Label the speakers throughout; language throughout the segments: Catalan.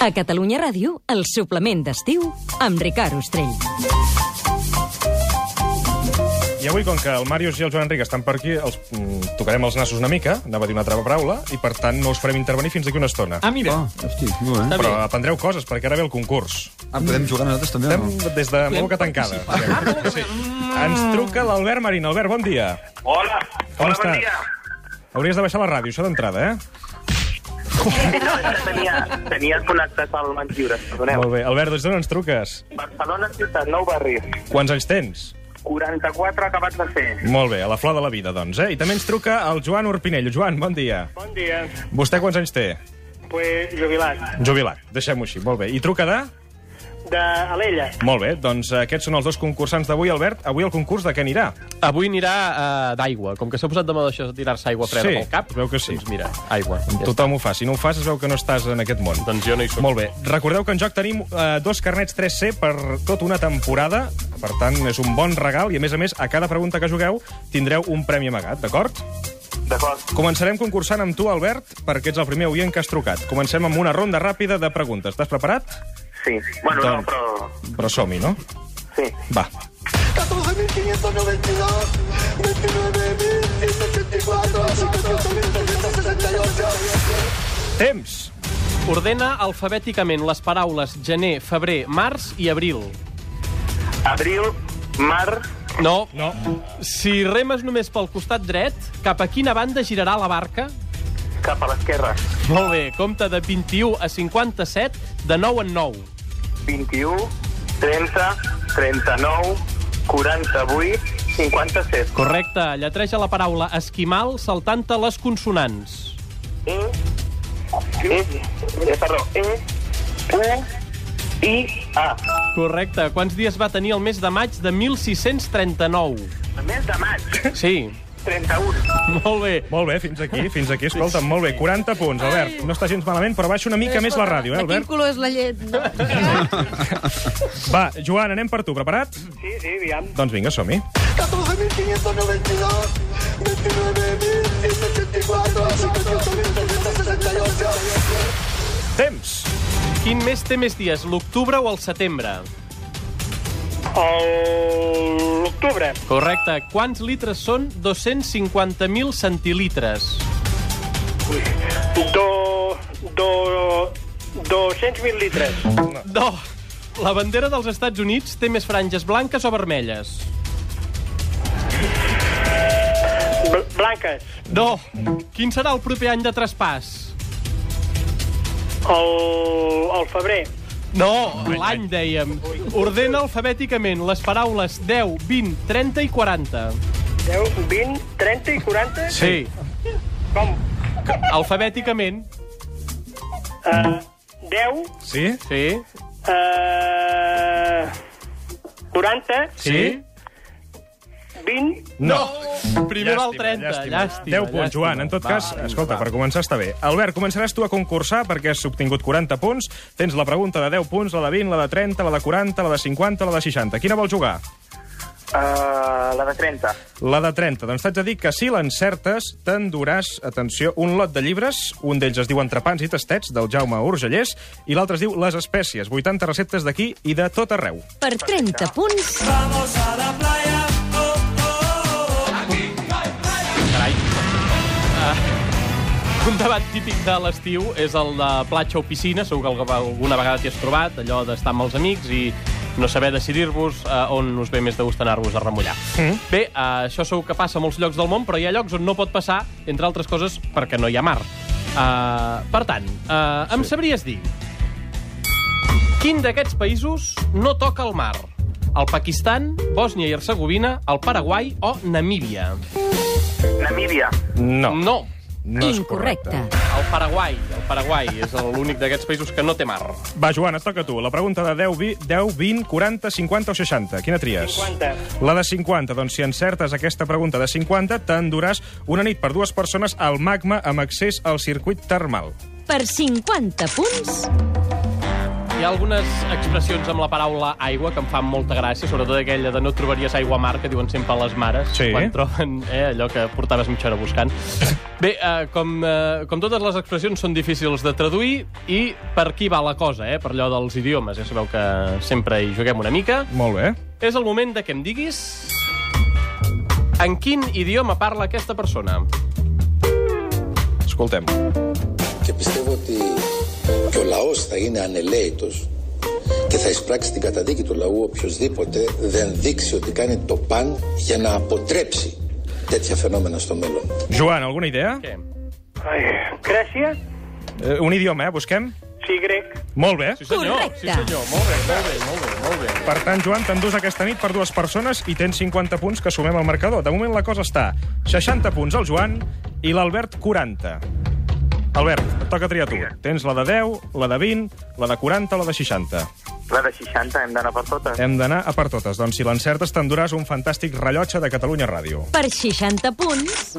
Speaker 1: A Catalunya Ràdio, el suplement d'estiu amb Ricard Ostrell.
Speaker 2: I avui, com que el Màrius i el Joan Enric estan per aquí, els mm, tocarem els nassos una mica, anava a dir una altra paraula, i per tant no us farem intervenir fins d'aquí una estona.
Speaker 3: Ah, mira.
Speaker 4: Hosti, molt
Speaker 3: λοιπόν, ε.
Speaker 4: bé.
Speaker 2: Oh, Però aprendreu coses, perquè ara ve el concurs.
Speaker 4: Ah, podem jugar nosaltres també o
Speaker 2: Estem
Speaker 4: no?
Speaker 2: des de boca tancada. Sí. Ens truca l'Albert Marín. Albert, bon dia.
Speaker 5: Hola,
Speaker 2: Com
Speaker 5: hola,
Speaker 2: estàs?
Speaker 5: bon dia.
Speaker 2: Hauries de baixar la ràdio, això d'entrada, eh?
Speaker 5: No, és que tenia, tenia connectat al mans lliures, perdoneu.
Speaker 2: Molt bé. Albert, des d'on ens truques?
Speaker 5: Barcelona, ciutat, nou barri.
Speaker 2: Quants anys tens?
Speaker 5: 44 acabats de fer.
Speaker 2: Molt bé, a la flor de la vida, doncs, eh? I també ens truca el Joan Urpinell. Joan, bon dia.
Speaker 6: Bon dia.
Speaker 2: Vostè quants anys té?
Speaker 6: Pues jubilat.
Speaker 2: Jubilat, deixem-ho així, molt bé. I truca de...
Speaker 6: De Alella.
Speaker 2: Molt bé, doncs aquests són els dos concursants d'avui, Albert. Avui el concurs de què anirà?
Speaker 3: Avui anirà uh, d'aigua. Com que s'ha posat de moda això de tirar-se aigua freda
Speaker 2: Sí,
Speaker 3: pel cap,
Speaker 2: es veu que sí.
Speaker 3: doncs mira, aigua. Ja està.
Speaker 2: Tothom ho fa. Si no ho fas, es veu que no estàs en aquest món.
Speaker 3: Doncs jo no hi soc.
Speaker 2: Molt bé. Recordeu que en joc tenim eh, dos carnets 3C per tota una temporada. Per tant, és un bon regal i, a més a més, a cada pregunta que jugueu tindreu un premi amagat, d'acord?
Speaker 5: D'acord.
Speaker 2: Començarem concursant amb tu, Albert, perquè ets el primer oient que has trucat. Comencem amb una ronda ràpida de preguntes. Estàs preparat?
Speaker 5: Sí. Bueno,
Speaker 2: Doncs-
Speaker 5: no, però...
Speaker 2: Però som-hi, no?
Speaker 5: Sí.
Speaker 2: Va.
Speaker 7: 14.592, 29.184, 58.368.
Speaker 2: Temps!
Speaker 3: Ordena alfabèticament les paraules gener, febrer, març i abril.
Speaker 5: Abril, mar,
Speaker 3: No.
Speaker 2: No.
Speaker 3: Si remes només pel costat dret, cap a quina banda girarà la barca?
Speaker 5: cap a l'esquerra.
Speaker 3: Molt bé, compta de 21 a 57, de 9 en 9.
Speaker 5: 21, 30, 39, 48, 57.
Speaker 3: Correcte, lletreja la paraula esquimal saltant-te les consonants.
Speaker 5: E, E, eh, perdó, E, U, I, A.
Speaker 3: Correcte, quants dies va tenir el mes de maig de 1639?
Speaker 5: El mes de maig,
Speaker 3: Sí,
Speaker 5: 31.
Speaker 3: molt bé.
Speaker 2: Molt bé, fins aquí, fins aquí. Escolta'm, molt bé. 40 punts, Albert. No està gens malament, però baixa una mica més la ràdio, eh,
Speaker 8: De quin
Speaker 2: Albert?
Speaker 8: color és la llet? No?
Speaker 2: Va, Joan, anem per tu. Preparat?
Speaker 6: Sí, sí, aviam.
Speaker 2: Doncs vinga, som-hi.
Speaker 7: 14.592, 29.184, 58.368.
Speaker 2: Temps!
Speaker 3: Quin mes té més dies, l'octubre o el setembre?
Speaker 6: El- L'octubre,
Speaker 3: Correcte. Quants litres són 250.000 centilitres?
Speaker 6: do... do... 200.000 litres.
Speaker 3: No. La bandera dels Estats Units té més franges blanques o vermelles?
Speaker 6: Bl blanques.
Speaker 3: No. Quin serà el proper any de traspàs?
Speaker 6: El, el febrer.
Speaker 3: No, l'any, dèiem. Ordena alfabèticament les paraules 10, 20, 30 i 40.
Speaker 6: 10, 20, 30 i 40?
Speaker 3: Sí.
Speaker 6: Com?
Speaker 3: Alfabèticament.
Speaker 6: Uh, 10,
Speaker 2: Sí?
Speaker 3: Sí.
Speaker 6: uh, 40,
Speaker 2: Sí?
Speaker 6: 20...
Speaker 2: No.
Speaker 3: Primer va el 30. Llàstima. llàstima
Speaker 2: 10 punts, Joan. En tot cas, escolta, per començar està bé. Albert, començaràs tu a concursar perquè has obtingut 40 punts. Tens la pregunta de 10 punts, la de 20, la de 30, la de 40, la de 50, la de 60. Quina vols jugar?
Speaker 5: Uh, la de 30.
Speaker 2: La de 30. Doncs t'haig de dir que si l'encertes, t'enduràs, atenció, un lot de llibres. Un d'ells es diu Entrepans i tastets, del Jaume Urgellès, i l'altre es diu Les espècies, 80 receptes d'aquí i de tot arreu.
Speaker 1: Per 30 punts,
Speaker 3: Un debat típic de l'estiu és el de platja o piscina, segur que alguna vegada t'hi has trobat, allò d'estar amb els amics i no saber decidir-vos eh, on us ve més de gust anar-vos a remullar. Mm. Bé, eh, això segur que passa a molts llocs del món, però hi ha llocs on no pot passar, entre altres coses, perquè no hi ha mar. Eh, per tant, eh, em sabries dir quin d'aquests països no toca el mar? El Pakistan, Bòsnia i Hercegovina, el Paraguai o Namíbia?
Speaker 5: Namíbia.
Speaker 2: No.
Speaker 3: no.
Speaker 2: no és
Speaker 1: incorrecte.
Speaker 3: El Paraguai, el Paraguai és l'únic d'aquests països que no té mar.
Speaker 2: Va, Joan, et toca a tu. La pregunta de 10, vi- 10, 20, 40, 50 o 60. Quina tries?
Speaker 6: 50.
Speaker 2: La de 50. Doncs si encertes aquesta pregunta de 50, t'enduràs una nit per dues persones al magma amb accés al circuit termal.
Speaker 1: Per 50 punts,
Speaker 3: Hi ha algunes expressions amb la paraula aigua que em fan molta gràcia, sobretot aquella de no trobaries aigua a mar, que diuen sempre les mares,
Speaker 2: Sí.
Speaker 3: quan troben eh, allò que portaves mitja hora buscant. Bé, eh, com, eh, com totes les expressions són difícils de traduir, i per qui va la cosa, eh, per allò dels idiomes, ja sabeu que sempre hi juguem una mica.
Speaker 2: Molt bé.
Speaker 3: És el moment de que em diguis en quin idioma parla aquesta persona.
Speaker 2: Escoltem.
Speaker 8: Και πιστεύω ότι και ο λαός θα είναι ανελαίητος και θα εισπράξει την καταδίκη του λαού οποιοδήποτε δεν δείξει ότι κάνει το παν για να αποτρέψει τέτοια φαινόμενα στο μέλλον.
Speaker 2: Joan, alguna idea?
Speaker 3: Què?
Speaker 6: Ai. Grècia?
Speaker 2: Eh, un idioma, eh? Busquem.
Speaker 6: Sí, grec.
Speaker 2: Molt bé.
Speaker 3: Sí, senyor.
Speaker 1: Correcte.
Speaker 3: Sí, senyor. Molt bé, molt bé, molt bé, molt bé.
Speaker 2: Per tant, Joan, t'endús aquesta nit per dues persones i tens 50 punts que sumem al marcador. De moment la cosa està 60 punts al Joan i l'Albert 40. Albert, et toca triar tu. Tens la de 10, la de 20, la de 40 o la de 60.
Speaker 5: La de 60 hem d'anar per totes.
Speaker 2: Hem d'anar a per totes. Doncs si l'encertes t'enduràs un fantàstic rellotge de Catalunya Ràdio.
Speaker 1: Per 60 punts,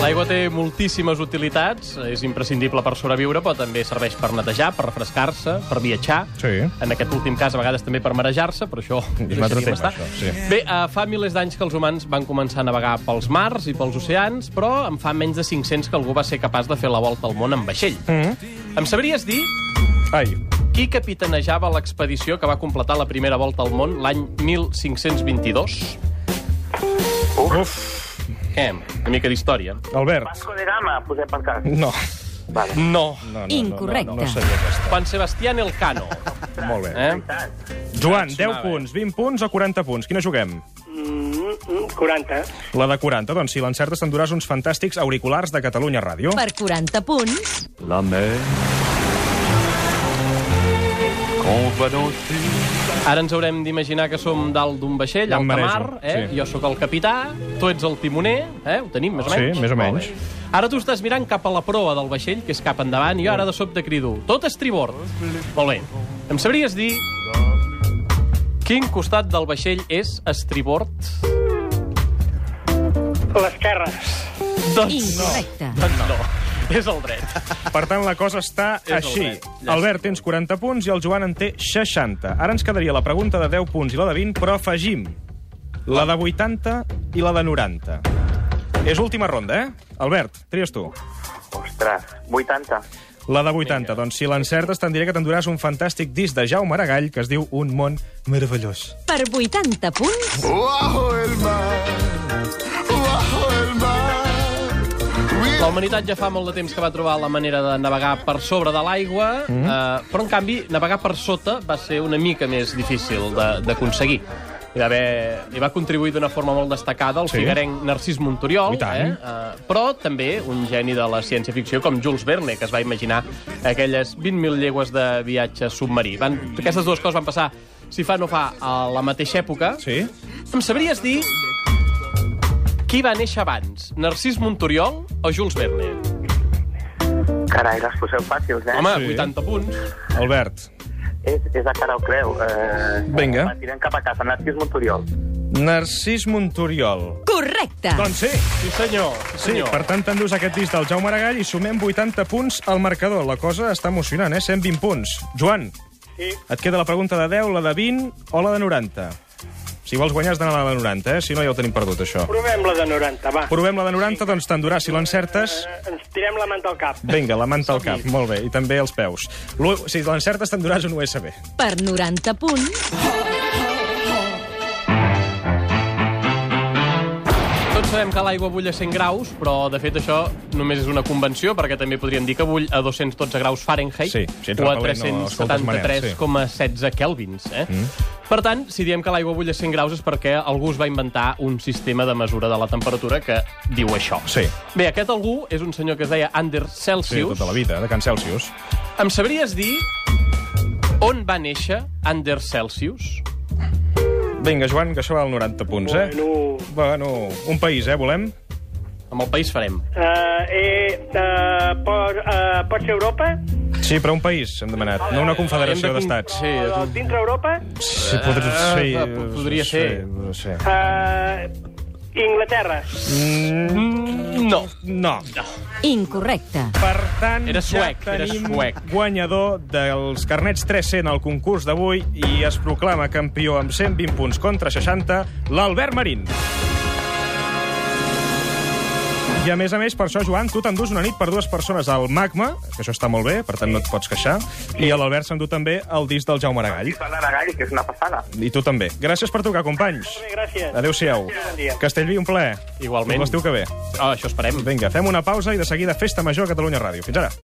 Speaker 3: L'aigua té moltíssimes utilitats, és imprescindible per sobreviure, però també serveix per netejar, per refrescar-se, per viatjar.
Speaker 2: Sí.
Speaker 3: En aquest últim cas, a vegades també per marejar-se, però això ho
Speaker 2: un altre
Speaker 3: deixaríem
Speaker 2: tema,
Speaker 3: estar.
Speaker 2: això, sí.
Speaker 3: Bé, eh, fa milers d'anys que els humans van començar a navegar pels mars i pels oceans, però en fa menys de 500 que algú va ser capaç de fer la volta al món en vaixell.
Speaker 2: Mm.
Speaker 3: Em sabries dir
Speaker 2: Ai,
Speaker 3: qui capitanejava l'expedició que va completar la primera volta al món l'any 1522?
Speaker 2: uf,
Speaker 3: Què? Una mica d'història.
Speaker 2: Albert.
Speaker 5: Vasco de Gama, posem pel cas.
Speaker 2: No,
Speaker 3: No.
Speaker 2: no, no,
Speaker 1: Incorrecte.
Speaker 2: no, no, no seria aquesta.
Speaker 3: Juan Sebastián Elcano.
Speaker 2: Molt bé.
Speaker 3: Eh?
Speaker 2: Joan, 10
Speaker 3: Sonava, eh?
Speaker 2: punts, 20 punts o 40 punts? Quina juguem?
Speaker 6: Mm, mm, 40.
Speaker 2: La de 40, doncs si l'encertes t'enduràs uns fantàstics auriculars de Catalunya Ràdio.
Speaker 1: per 40 punts,
Speaker 4: La mer... Qu'on va danser...
Speaker 3: Ara ens haurem d'imaginar que som dalt d'un vaixell,
Speaker 2: Ja
Speaker 3: al
Speaker 2: em
Speaker 3: mar,
Speaker 2: marejo,
Speaker 3: eh?
Speaker 2: sí.
Speaker 3: jo sóc el capità, tu ets el timoner, eh? ho tenim més o
Speaker 2: Sí,
Speaker 3: menys?
Speaker 2: més o
Speaker 3: Molt
Speaker 2: menys.
Speaker 3: bé. Ara tu estàs mirant cap a la proa del vaixell, que és cap endavant, i jo ara de sobte crido, tot estribord. Molt bé. Em sabries dir quin costat del vaixell és estribord?
Speaker 6: L'esquerra.
Speaker 3: Doncs no.
Speaker 1: incorrecte.
Speaker 3: Doncs no. És el dret.
Speaker 2: Per tant, la cosa està
Speaker 3: És el
Speaker 2: així.
Speaker 3: dret. Llàstima.
Speaker 2: Albert tens 40 punts i el Joan en té 60. Ara ens quedaria la pregunta de 10 punts i la de 20, però afegim la de 80 i la de 90. És última ronda, eh? Albert, tries tu.
Speaker 5: Ostres, 80.
Speaker 2: La de 80. Doncs si l'encertes, te'n diré que t'enduràs un fantàstic disc de Jaume Aragall que es diu Un món meravellós.
Speaker 1: Per 80 punts,
Speaker 7: Bajo el mar, bajo el mar.
Speaker 3: La humanitat ja fa molt de temps que va trobar la manera de navegar per sobre de l'aigua,
Speaker 2: Mhm.
Speaker 3: mm eh, però, en canvi, navegar per sota va ser una mica més difícil de- d'aconseguir. Hi va, haver, hi va contribuir d'una forma molt destacada el
Speaker 2: Sí.
Speaker 3: sí. figuerenc Narcís Montoriol,
Speaker 2: I tant.
Speaker 3: eh? Eh, però també un geni de la ciència-ficció com Jules Verne, que es va imaginar aquelles 20.000 llegües de viatge submarí. Van, aquestes dues coses van passar, si fa no fa, a la mateixa època.
Speaker 2: Sí?
Speaker 3: Em sabries dir qui va néixer abans, Narcís Montoriol o Jules Verne?
Speaker 5: Carai, les poseu fàcils, eh?
Speaker 3: Home,
Speaker 2: Ah, Sí.
Speaker 3: 80 punts.
Speaker 2: Albert.
Speaker 5: És, és a cara o creu. Eh,
Speaker 2: Vinga.
Speaker 5: Va, tirem cap a casa. Narcís Montoriol.
Speaker 2: Narcís Montoriol.
Speaker 1: correcte.
Speaker 2: Doncs sí.
Speaker 3: Sí, senyor.
Speaker 2: Sí, per tant, t'endús aquest disc del Jaume Aragall i sumem 80 punts al marcador. La cosa està emocionant, eh? 120 punts. Joan,
Speaker 6: Sí.
Speaker 2: et queda la pregunta de 10, la de 20 o la de 90? Si vols guanyar has d'anar a la de 90, eh? Si no, ja ho tenim perdut, això.
Speaker 6: Provem la de 90, va.
Speaker 2: Provem la de 90, doncs t'endurà. Si l'encertes...
Speaker 6: Eh, ens tirem la manta al cap.
Speaker 2: Vinga, la manta al cap, molt bé, i també els peus. L'u- Si l'encertes, t'enduràs un USB.
Speaker 1: Per 90 punts,
Speaker 3: Tots sabem que l'aigua bull a 100 graus, però, de fet, això només és una convenció, perquè també podríem dir que bull a 212 graus Fahrenheit
Speaker 2: Sí, si ets
Speaker 3: o a
Speaker 2: repel·lent no escoltes maneres, sí.
Speaker 3: 373,16 kelvins. Eh? Mm. Per tant, si diem que l'aigua bull a 100 graus és perquè algú es va inventar un sistema de mesura de la temperatura que diu això.
Speaker 2: Sí.
Speaker 3: Bé, aquest algú és un senyor que es deia Anders Celsius.
Speaker 2: Sí, tota la vida, de Can Celsius.
Speaker 3: Em sabries dir on va néixer Anders Celsius?
Speaker 2: Vinga, Joan, que això val 90 punts, eh?
Speaker 6: Bueno,
Speaker 2: Bueno, un país, eh, volem?
Speaker 3: Amb el país farem.
Speaker 6: eh, eh, eh, pot, eh, pot ser Europa?
Speaker 2: Sí, però un país, hem demanat, no una confederació
Speaker 3: Hem de con-
Speaker 2: d'estats.
Speaker 3: Sí, és un...
Speaker 6: Dintre Europa?
Speaker 2: Sí, podria, sí,
Speaker 3: eh, podria
Speaker 2: sí,
Speaker 3: ser.
Speaker 2: No sé.
Speaker 6: Eh, Inglaterra.
Speaker 3: Mm, No.
Speaker 2: No.
Speaker 1: Incorrecte.
Speaker 2: Per tant,
Speaker 3: Era suec,
Speaker 2: ja
Speaker 3: era
Speaker 2: tenim
Speaker 3: suec.
Speaker 2: guanyador dels carnets 300 al concurs d'avui i es proclama campió amb 120 punts contra 60, l'Albert Marín. I a més a més, per això, Joan, tu t'endús una nit per dues persones al Magma, que això està molt bé, per tant no et pots queixar, i a l'Albert s'endú també el disc del Jaume Aragall.
Speaker 5: Fa la Aragall, que és una passada.
Speaker 2: I tu també. Gràcies per trucar, companys.
Speaker 6: Molt bé, gràcies.
Speaker 2: Adéu-siau.
Speaker 6: Bon dia.
Speaker 2: Castellví, un plaer.
Speaker 3: Igualment.
Speaker 2: Fins L'estiu que ve.
Speaker 3: Oh, això esperem.
Speaker 2: Vinga, fem una pausa i de seguida Festa Major a Catalunya Ràdio. Fins ara.